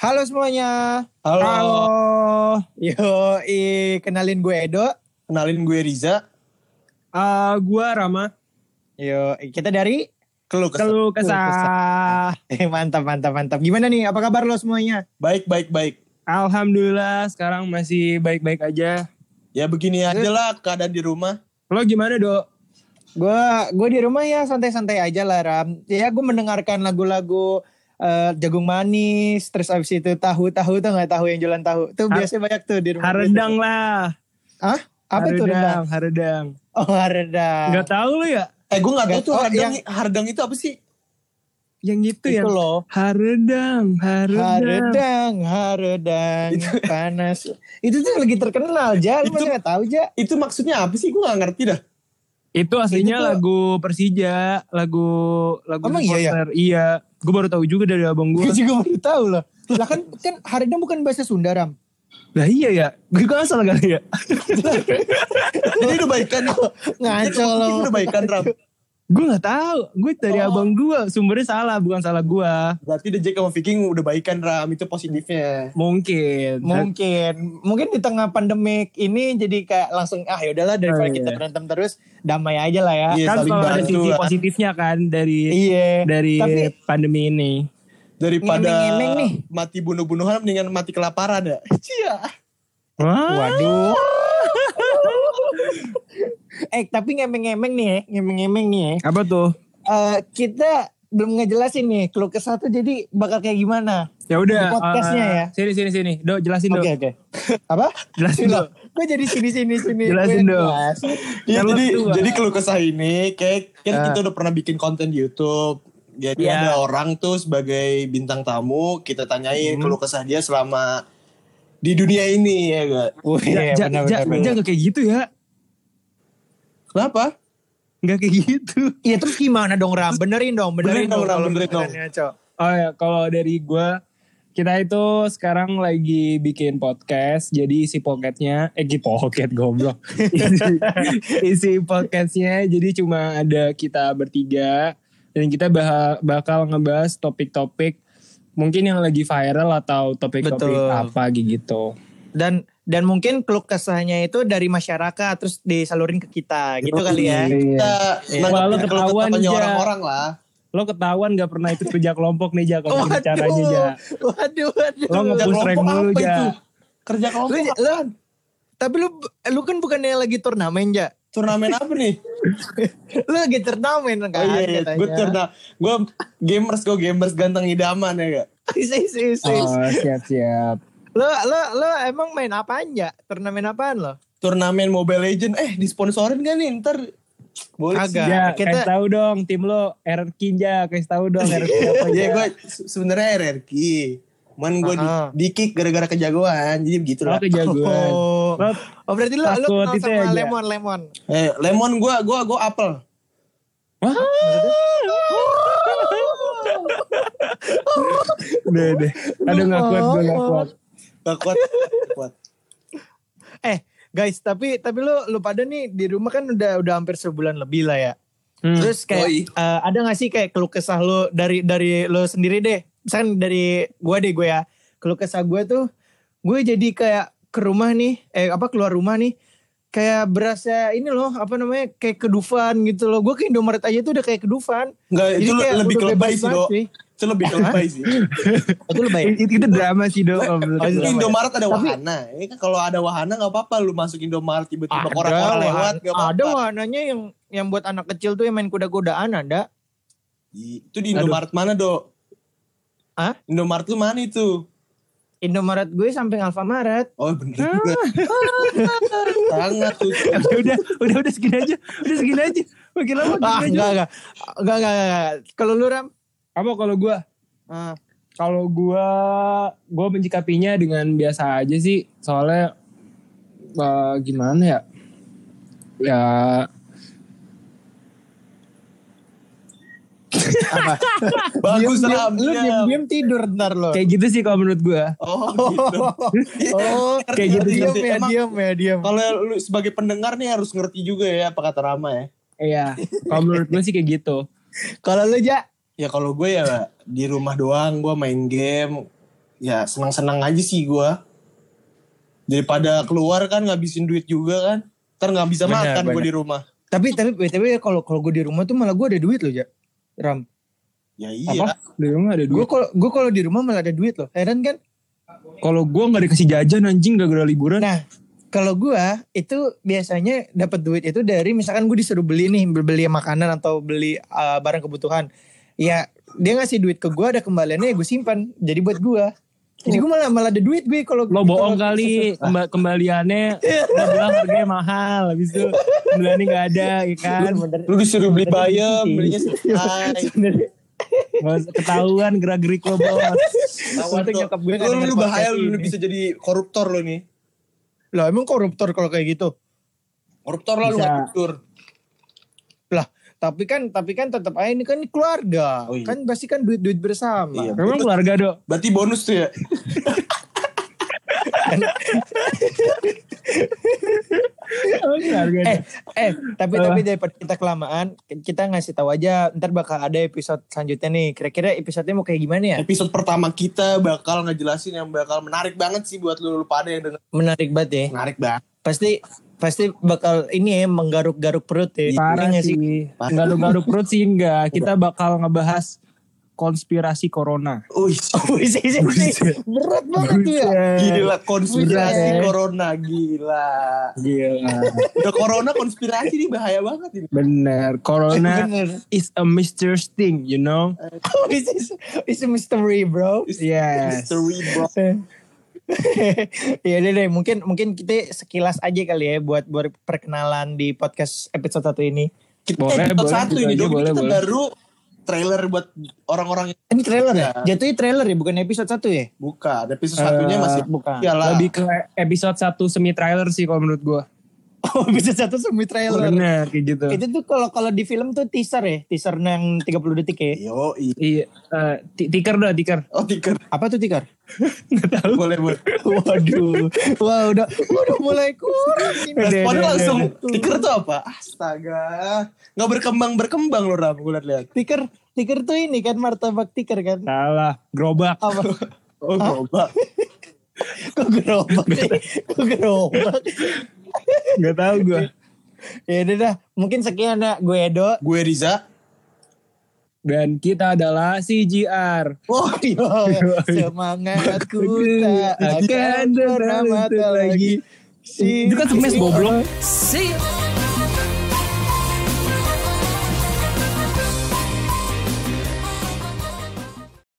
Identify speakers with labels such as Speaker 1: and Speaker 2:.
Speaker 1: Halo semuanya.
Speaker 2: Halo.
Speaker 1: Yo, kenalin gue Edo.
Speaker 2: Kenalin gue Riza.
Speaker 3: Eh, gua Rama.
Speaker 1: Yo, kita dari
Speaker 2: Keluh kesah.
Speaker 3: Kalau
Speaker 1: Keluh
Speaker 3: kesah.
Speaker 1: Eh, mantap mantap mantap. Gimana nih? Apa kabar lo semuanya?
Speaker 2: Baik, baik, baik.
Speaker 3: Alhamdulillah sekarang masih baik-baik aja.
Speaker 2: Ya begini aja lah keadaan di rumah.
Speaker 3: Lo gimana, Dok?
Speaker 1: Gue gue di rumah ya santai-santai aja lah Ram. Ya gue mendengarkan lagu-lagu eh, jagung manis, terus abis itu tahu-tahu tuh nggak tahu yang jualan tahu. Tuh
Speaker 3: Har-
Speaker 1: biasanya banyak tuh di rumah.
Speaker 3: Haredang lah.
Speaker 1: Hah? Apa tuh rendang?
Speaker 3: Haredang.
Speaker 1: Oh haredang.
Speaker 3: Gak tahu lo ya?
Speaker 2: Eh gue gak tau
Speaker 1: Nggak-
Speaker 2: tuh
Speaker 1: oh,
Speaker 2: hardang,
Speaker 1: yang-
Speaker 2: hardang itu apa sih?
Speaker 3: Yang gitu ya.
Speaker 2: Itu loh.
Speaker 3: Haredang, Haredang.
Speaker 1: Haredang, haredang, panas. Itu tuh lagi terkenal, Ja. Lu
Speaker 2: Itu-
Speaker 1: masih gak tahu, Ja?
Speaker 2: Itu maksudnya apa sih? Gue gak ngerti dah.
Speaker 3: Itu aslinya
Speaker 1: Itu tuh-
Speaker 3: lagu Persija, lagu lagu
Speaker 1: Emang iya ya?
Speaker 3: supporter. Iya. Gue baru tahu juga dari abang
Speaker 1: Gue
Speaker 3: gue.
Speaker 1: juga baru tahu loh. Lah kan, kan haredang bukan bahasa Sunda, Ram.
Speaker 3: Lah iya ya. Gue juga asal kali ya.
Speaker 2: Jadi udah baikan.
Speaker 1: Ngaco lo.
Speaker 2: Udah baikan, Ram.
Speaker 3: Gue nggak tahu. Gue dari
Speaker 2: Oh.
Speaker 3: abang gue. Sumbernya salah, bukan salah gue.
Speaker 2: Berarti The Jack sama Viking udah baikan, Ram. Itu positifnya.
Speaker 3: Mungkin.
Speaker 1: Mungkin, mungkin di tengah pandemik ini jadi kayak langsung ah yaudahlah daripada
Speaker 3: Oh, iya.
Speaker 1: kita berantem terus damai aja lah ya.
Speaker 2: Iya,
Speaker 3: kan
Speaker 2: saling
Speaker 3: selalu ada
Speaker 2: bantu
Speaker 3: sisi
Speaker 2: lah.
Speaker 3: positifnya kan dari
Speaker 1: Iya.
Speaker 3: dari
Speaker 1: Tapi-
Speaker 3: pandemi ini.
Speaker 2: Daripada
Speaker 1: Ngemeng-ngemeng nih.
Speaker 2: mati bunuh-bunuhan mendingan mati kelaparan ya. Iya.
Speaker 3: Wah,
Speaker 1: Waduh. eh tapi ngemeng-ngemeng nih ya, ngemeng-ngemeng nih ya.
Speaker 3: apa tuh?
Speaker 1: Eh, kita belum ngejelasin nih kalau ke satu jadi bakal kayak gimana.
Speaker 3: Ya udah.
Speaker 1: Di podcastnya
Speaker 3: eh,
Speaker 1: ya.
Speaker 3: Sini sini sini. Do jelasin
Speaker 1: Oke
Speaker 3: do.
Speaker 1: oke. Apa?
Speaker 3: Jelasin do.
Speaker 1: Gue jadi sini sini sini.
Speaker 3: Jelasin
Speaker 1: Gua
Speaker 3: dong.
Speaker 1: jelas.
Speaker 2: Iya,
Speaker 3: Kalau
Speaker 2: jadi
Speaker 3: tua.
Speaker 2: jadi keluh kesah ini kayak kan
Speaker 1: Ah.
Speaker 2: kita udah pernah bikin konten di YouTube. Jadi ada
Speaker 3: Iya.
Speaker 2: orang tuh sebagai bintang tamu kita tanyain keluh kesah dia selama di dunia ini ya gak?
Speaker 1: Wih,
Speaker 3: Ja- ja-
Speaker 1: Iya, benar,
Speaker 3: ja-
Speaker 1: benar, benar.
Speaker 3: ja- nggak kayak gitu ya.
Speaker 2: Kenapa?
Speaker 3: Nggak kayak gitu.
Speaker 1: Iya terus gimana dong Ram? Benerin dong, benerin,
Speaker 2: Benerin dong, Ram,
Speaker 1: kalau
Speaker 2: benerin dong.
Speaker 1: benerannya, Cok.
Speaker 3: Oh ya, kalau dari gua kita itu sekarang lagi bikin podcast. Jadi isi pocketnya, eh gitu pocket goblok. isi, isi podcastnya jadi cuma ada kita bertiga dan kita bah- bakal ngebahas topik-topik mungkin yang lagi viral atau topik-topik
Speaker 1: Betul.
Speaker 3: apa gitu.
Speaker 1: Dan dan mungkin keluh kesahnya itu dari masyarakat terus disalurin ke kita gitu kali ya.
Speaker 3: Iya.
Speaker 2: Kita
Speaker 1: Iya.
Speaker 3: Wah, lu
Speaker 2: nangkepin keluh
Speaker 3: ketahuan,
Speaker 2: kesahnya
Speaker 3: Ja.
Speaker 2: orang-orang lah.
Speaker 3: Lo ketahuan gak pernah ikut kerja kelompok nih Ja kalau gini caranya Ja.
Speaker 1: waduh, waduh.
Speaker 3: Lo
Speaker 2: Kerja
Speaker 3: nge-push rank
Speaker 2: kelompok
Speaker 3: dulu
Speaker 2: apa
Speaker 3: Ja.
Speaker 2: itu? Kerja kelompok
Speaker 1: ya. Lu,
Speaker 2: apa?
Speaker 1: lu, tapi lu lu kan bukannya lagi turnamen ja?
Speaker 2: turnamen apa nih?
Speaker 1: Lu lagi turnamen kan?
Speaker 2: Oh iya, iya.
Speaker 1: katanya.
Speaker 2: gue turna, gue gamers, gue gamers ganteng idaman ya gak?
Speaker 1: Is, is, is, is.
Speaker 3: Oh, siap-siap.
Speaker 1: Lu lu lu emang main apaan ja? Turnamen apaan lo?
Speaker 2: Turnamen Mobile Legend, eh disponsorin gak nih ntar? Boleh sih.
Speaker 1: Agak.
Speaker 3: Ya,
Speaker 1: kita-
Speaker 3: kasih tahu dong tim lo RRQ ja, kasih tahu dong RRQ apa
Speaker 2: Iya
Speaker 3: ja.
Speaker 2: gue se- sebenarnya RRQ. Cuman gue di,
Speaker 1: Aha.
Speaker 2: di kick gara-gara kejagoan. Jadi begitu
Speaker 3: Lo
Speaker 2: lah.
Speaker 3: kejagoan.
Speaker 1: Oh.
Speaker 3: Lo
Speaker 1: Oh berarti lu lu
Speaker 3: Takut
Speaker 1: kenal
Speaker 3: itu
Speaker 1: sama
Speaker 3: aja.
Speaker 1: lemon lemon.
Speaker 2: Eh, lemon gue gua gua apel.
Speaker 3: Wah. Udah deh. Aduh nggak kuat, gue nggak kuat.
Speaker 2: Gak kuat. Gak kuat.
Speaker 1: Eh guys tapi tapi lu lu pada nih di rumah kan udah udah hampir sebulan lebih lah ya.
Speaker 3: Hmm.
Speaker 1: Terus kayak
Speaker 2: Yoi.
Speaker 1: eh, ada gak sih kayak keluh kesah lo dari dari lo sendiri deh. Misalkan dari gua deh gue ya. Keluh kesah gue tuh gue jadi kayak ke rumah nih eh apa keluar rumah nih kayak berasa ini loh apa namanya kayak kedufan gitu loh. Gue ke Indomaret aja tuh udah kayak kedufan.
Speaker 2: Enggak, Eh, itu le- lebih
Speaker 1: udah
Speaker 2: kelebay
Speaker 1: bebas
Speaker 2: sih,
Speaker 1: banget
Speaker 2: Dok.
Speaker 1: sih.
Speaker 2: Itu lebih kelebay sih.
Speaker 1: Itu lebay.
Speaker 3: It- Itu, drama sih dong. kalau menurut
Speaker 2: Itu
Speaker 3: gue.
Speaker 2: Indomaret ada
Speaker 1: Tapi-
Speaker 2: wahana. Ini kan kalau ada wahana gak apa-apa lu masuk Indomaret tiba-tiba
Speaker 1: Ada
Speaker 2: orang-orang
Speaker 1: wahan-
Speaker 2: lewat gak apa-apa.
Speaker 1: Ada wahananya yang yang buat anak kecil tuh yang main kuda-kudaan ada.
Speaker 2: Di- Itu di Indomaret mana, Dok?
Speaker 1: Hah?
Speaker 2: Indomaret lu mana itu?
Speaker 1: Indomaret gue samping Alfamaret.
Speaker 2: Oh bener
Speaker 1: Ah.
Speaker 2: juga. Sangat tuh.
Speaker 3: Udah, udah, udah, udah segini aja. Udah segini aja. Makin lama
Speaker 1: Ah,
Speaker 3: makin aja.
Speaker 1: enggak enggak. Enggak enggak. enggak, enggak. Kalau lu Ram
Speaker 3: Apa kalau gue?
Speaker 1: ah,
Speaker 3: Kalau gue, gue mencikapinya dengan biasa aja sih. Soalnya eh, gimana ya? Ya
Speaker 2: Bagus lah.
Speaker 1: lu diam-diam tidur ntar lo.
Speaker 3: kayak gitu sih kalau menurut gue.
Speaker 2: Oh gitu.
Speaker 1: Oh,
Speaker 3: Kayak gitu,
Speaker 1: diam
Speaker 2: gitu.
Speaker 1: ya,
Speaker 2: Emang-
Speaker 1: diam ya, diam.
Speaker 2: Kalau lu sebagai pendengar nih harus ngerti juga ya apa kata Rama ya.
Speaker 3: Iya, kalau menurut gue sih kayak gitu.
Speaker 1: Kalau lu Ja
Speaker 2: Ya kalau gue ya di rumah doang gue main game ya senang-senang aja sih gua daripada keluar kan ngabisin duit juga kan ntar nggak bisa
Speaker 3: Benar,
Speaker 2: makan gua
Speaker 3: benar.
Speaker 2: di rumah
Speaker 1: Tapi tapi btw kalau kalau gue di rumah tuh malah gue ada duit loh ya. Ram.
Speaker 2: ya
Speaker 3: Apa?
Speaker 2: iya
Speaker 3: Di rumah ada
Speaker 1: Gue
Speaker 3: duit.
Speaker 1: kalau gue kalau di rumah malah ada duit loh. Heran kan?
Speaker 3: Kalau gue nggak dikasih jajan anjing gak gara liburan.
Speaker 1: Nah, kalau gua itu biasanya dapat duit itu dari misalkan gue disuruh beli nih, beli makanan atau beli uh, barang kebutuhan. Ya, dia ngasih duit ke gua ada kembaliannya ya gue simpan. Jadi buat gua. Jadi gue malah malah ada duit gue kalau
Speaker 3: Lo
Speaker 1: gitu.
Speaker 3: bohong kali kemba- kembaliannya lo bilang harganya mahal habis itu kembaliannya nggak ada ya kan
Speaker 2: lu disuruh beli bayam
Speaker 1: Iya.
Speaker 2: belinya sesuai
Speaker 1: Bener.
Speaker 3: Bos, ketahuan gerak-gerik lo bos
Speaker 2: Lawan
Speaker 1: Untung
Speaker 2: tuh.
Speaker 1: nyokap gue nggak
Speaker 2: lu,
Speaker 1: denger
Speaker 2: lu bahaya
Speaker 1: podcast
Speaker 2: lu, lu
Speaker 1: ini.
Speaker 2: bisa jadi koruptor lu nih
Speaker 1: Lah emang koruptor kalau kayak gitu.
Speaker 2: koruptor lah lu
Speaker 3: Bisa.
Speaker 2: nggak jujur
Speaker 1: Lah, tapi kan tapi kan tetap aja ini kan keluarga.
Speaker 2: Oh iya.
Speaker 1: Kan pasti kan duit-duit bersama.
Speaker 2: Iya.
Speaker 3: Emang keluarga dok
Speaker 2: berarti bonus tuh ya
Speaker 3: Emang Oh, keluarga Dok?
Speaker 1: eh eh tapi
Speaker 3: Apa?
Speaker 1: tapi daripada kita kelamaan kita ngasih tahu aja ntar bakal ada episode selanjutnya nih kira-kira episodenya mau kayak gimana ya
Speaker 2: episode pertama kita bakal ngejelasin yang bakal menarik banget sih buat lu, lu pada yang denger
Speaker 1: menarik banget ya
Speaker 2: menarik banget
Speaker 1: pasti pasti bakal ini ya menggaruk-garuk perut ya
Speaker 3: parah
Speaker 1: Iya nggak
Speaker 3: sih
Speaker 2: Parah.
Speaker 3: garuk-garuk perut sih enggak kita bakal ngebahas konspirasi corona
Speaker 2: Uih,
Speaker 1: Wih, sih, sih, sih. berat banget tuh ya
Speaker 2: gila
Speaker 1: Buset.
Speaker 2: konspirasi corona gila
Speaker 3: gila
Speaker 2: udah corona konspirasi nih bahaya banget ini
Speaker 3: bener corona
Speaker 1: bener
Speaker 3: is a mysterious thing you know
Speaker 1: it's, it's, it's a mystery bro
Speaker 3: yes
Speaker 2: Mystery bro.
Speaker 1: ya deh mungkin mungkin kita sekilas aja kali ya buat buat perkenalan di podcast episode satu ini
Speaker 2: Kita episode
Speaker 3: Boleh, boleh,
Speaker 2: satu
Speaker 3: gitu
Speaker 2: ini
Speaker 3: aja,
Speaker 2: dong.
Speaker 3: boleh,
Speaker 2: kita
Speaker 3: boleh.
Speaker 2: baru trailer buat orang-orang yang
Speaker 1: ini trailer ya
Speaker 2: Ya.
Speaker 1: jatuhnya trailer ya bukan episode satu ya
Speaker 2: buka. Episode satunya
Speaker 3: Eh,
Speaker 2: masih ya
Speaker 1: bukan.
Speaker 2: Piala.
Speaker 3: lebih ke episode 1 semi trailer sih kalau menurut gua
Speaker 1: Oh bisa satu semi trailer.
Speaker 3: bener kayak gitu
Speaker 1: Itu tuh kalau kalau di film tuh teaser ya, teaser yang 30 detik ya.
Speaker 2: Yo,
Speaker 3: Iya, eh, ti- tiker dah tiker.
Speaker 2: oh tiker.
Speaker 1: Apa tuh tikar?
Speaker 2: boleh boleh.
Speaker 1: Waduh. Wah, udah udah mulai kurang ini.
Speaker 2: Respon
Speaker 3: Dede,
Speaker 2: langsung tiker tuh apa? Astaga, nggak berkembang berkembang loh Ram. Gue lihat.
Speaker 1: Tikar, tikar tuh ini kan martabak tikar kan.
Speaker 3: Salah, gerobak.
Speaker 1: Apa?
Speaker 2: Oh coba.
Speaker 1: Kok gerobak sih? Kok gerobak?
Speaker 3: Gak tahu gue.
Speaker 1: Ya udah dah, mungkin sekian dah gue Edo.
Speaker 2: Gue Riza.
Speaker 3: Dan kita adalah CGR.
Speaker 1: Oh, iya. semangatku tak akan pernah mati lagi.
Speaker 3: Itu kan smash goblok.
Speaker 1: See you.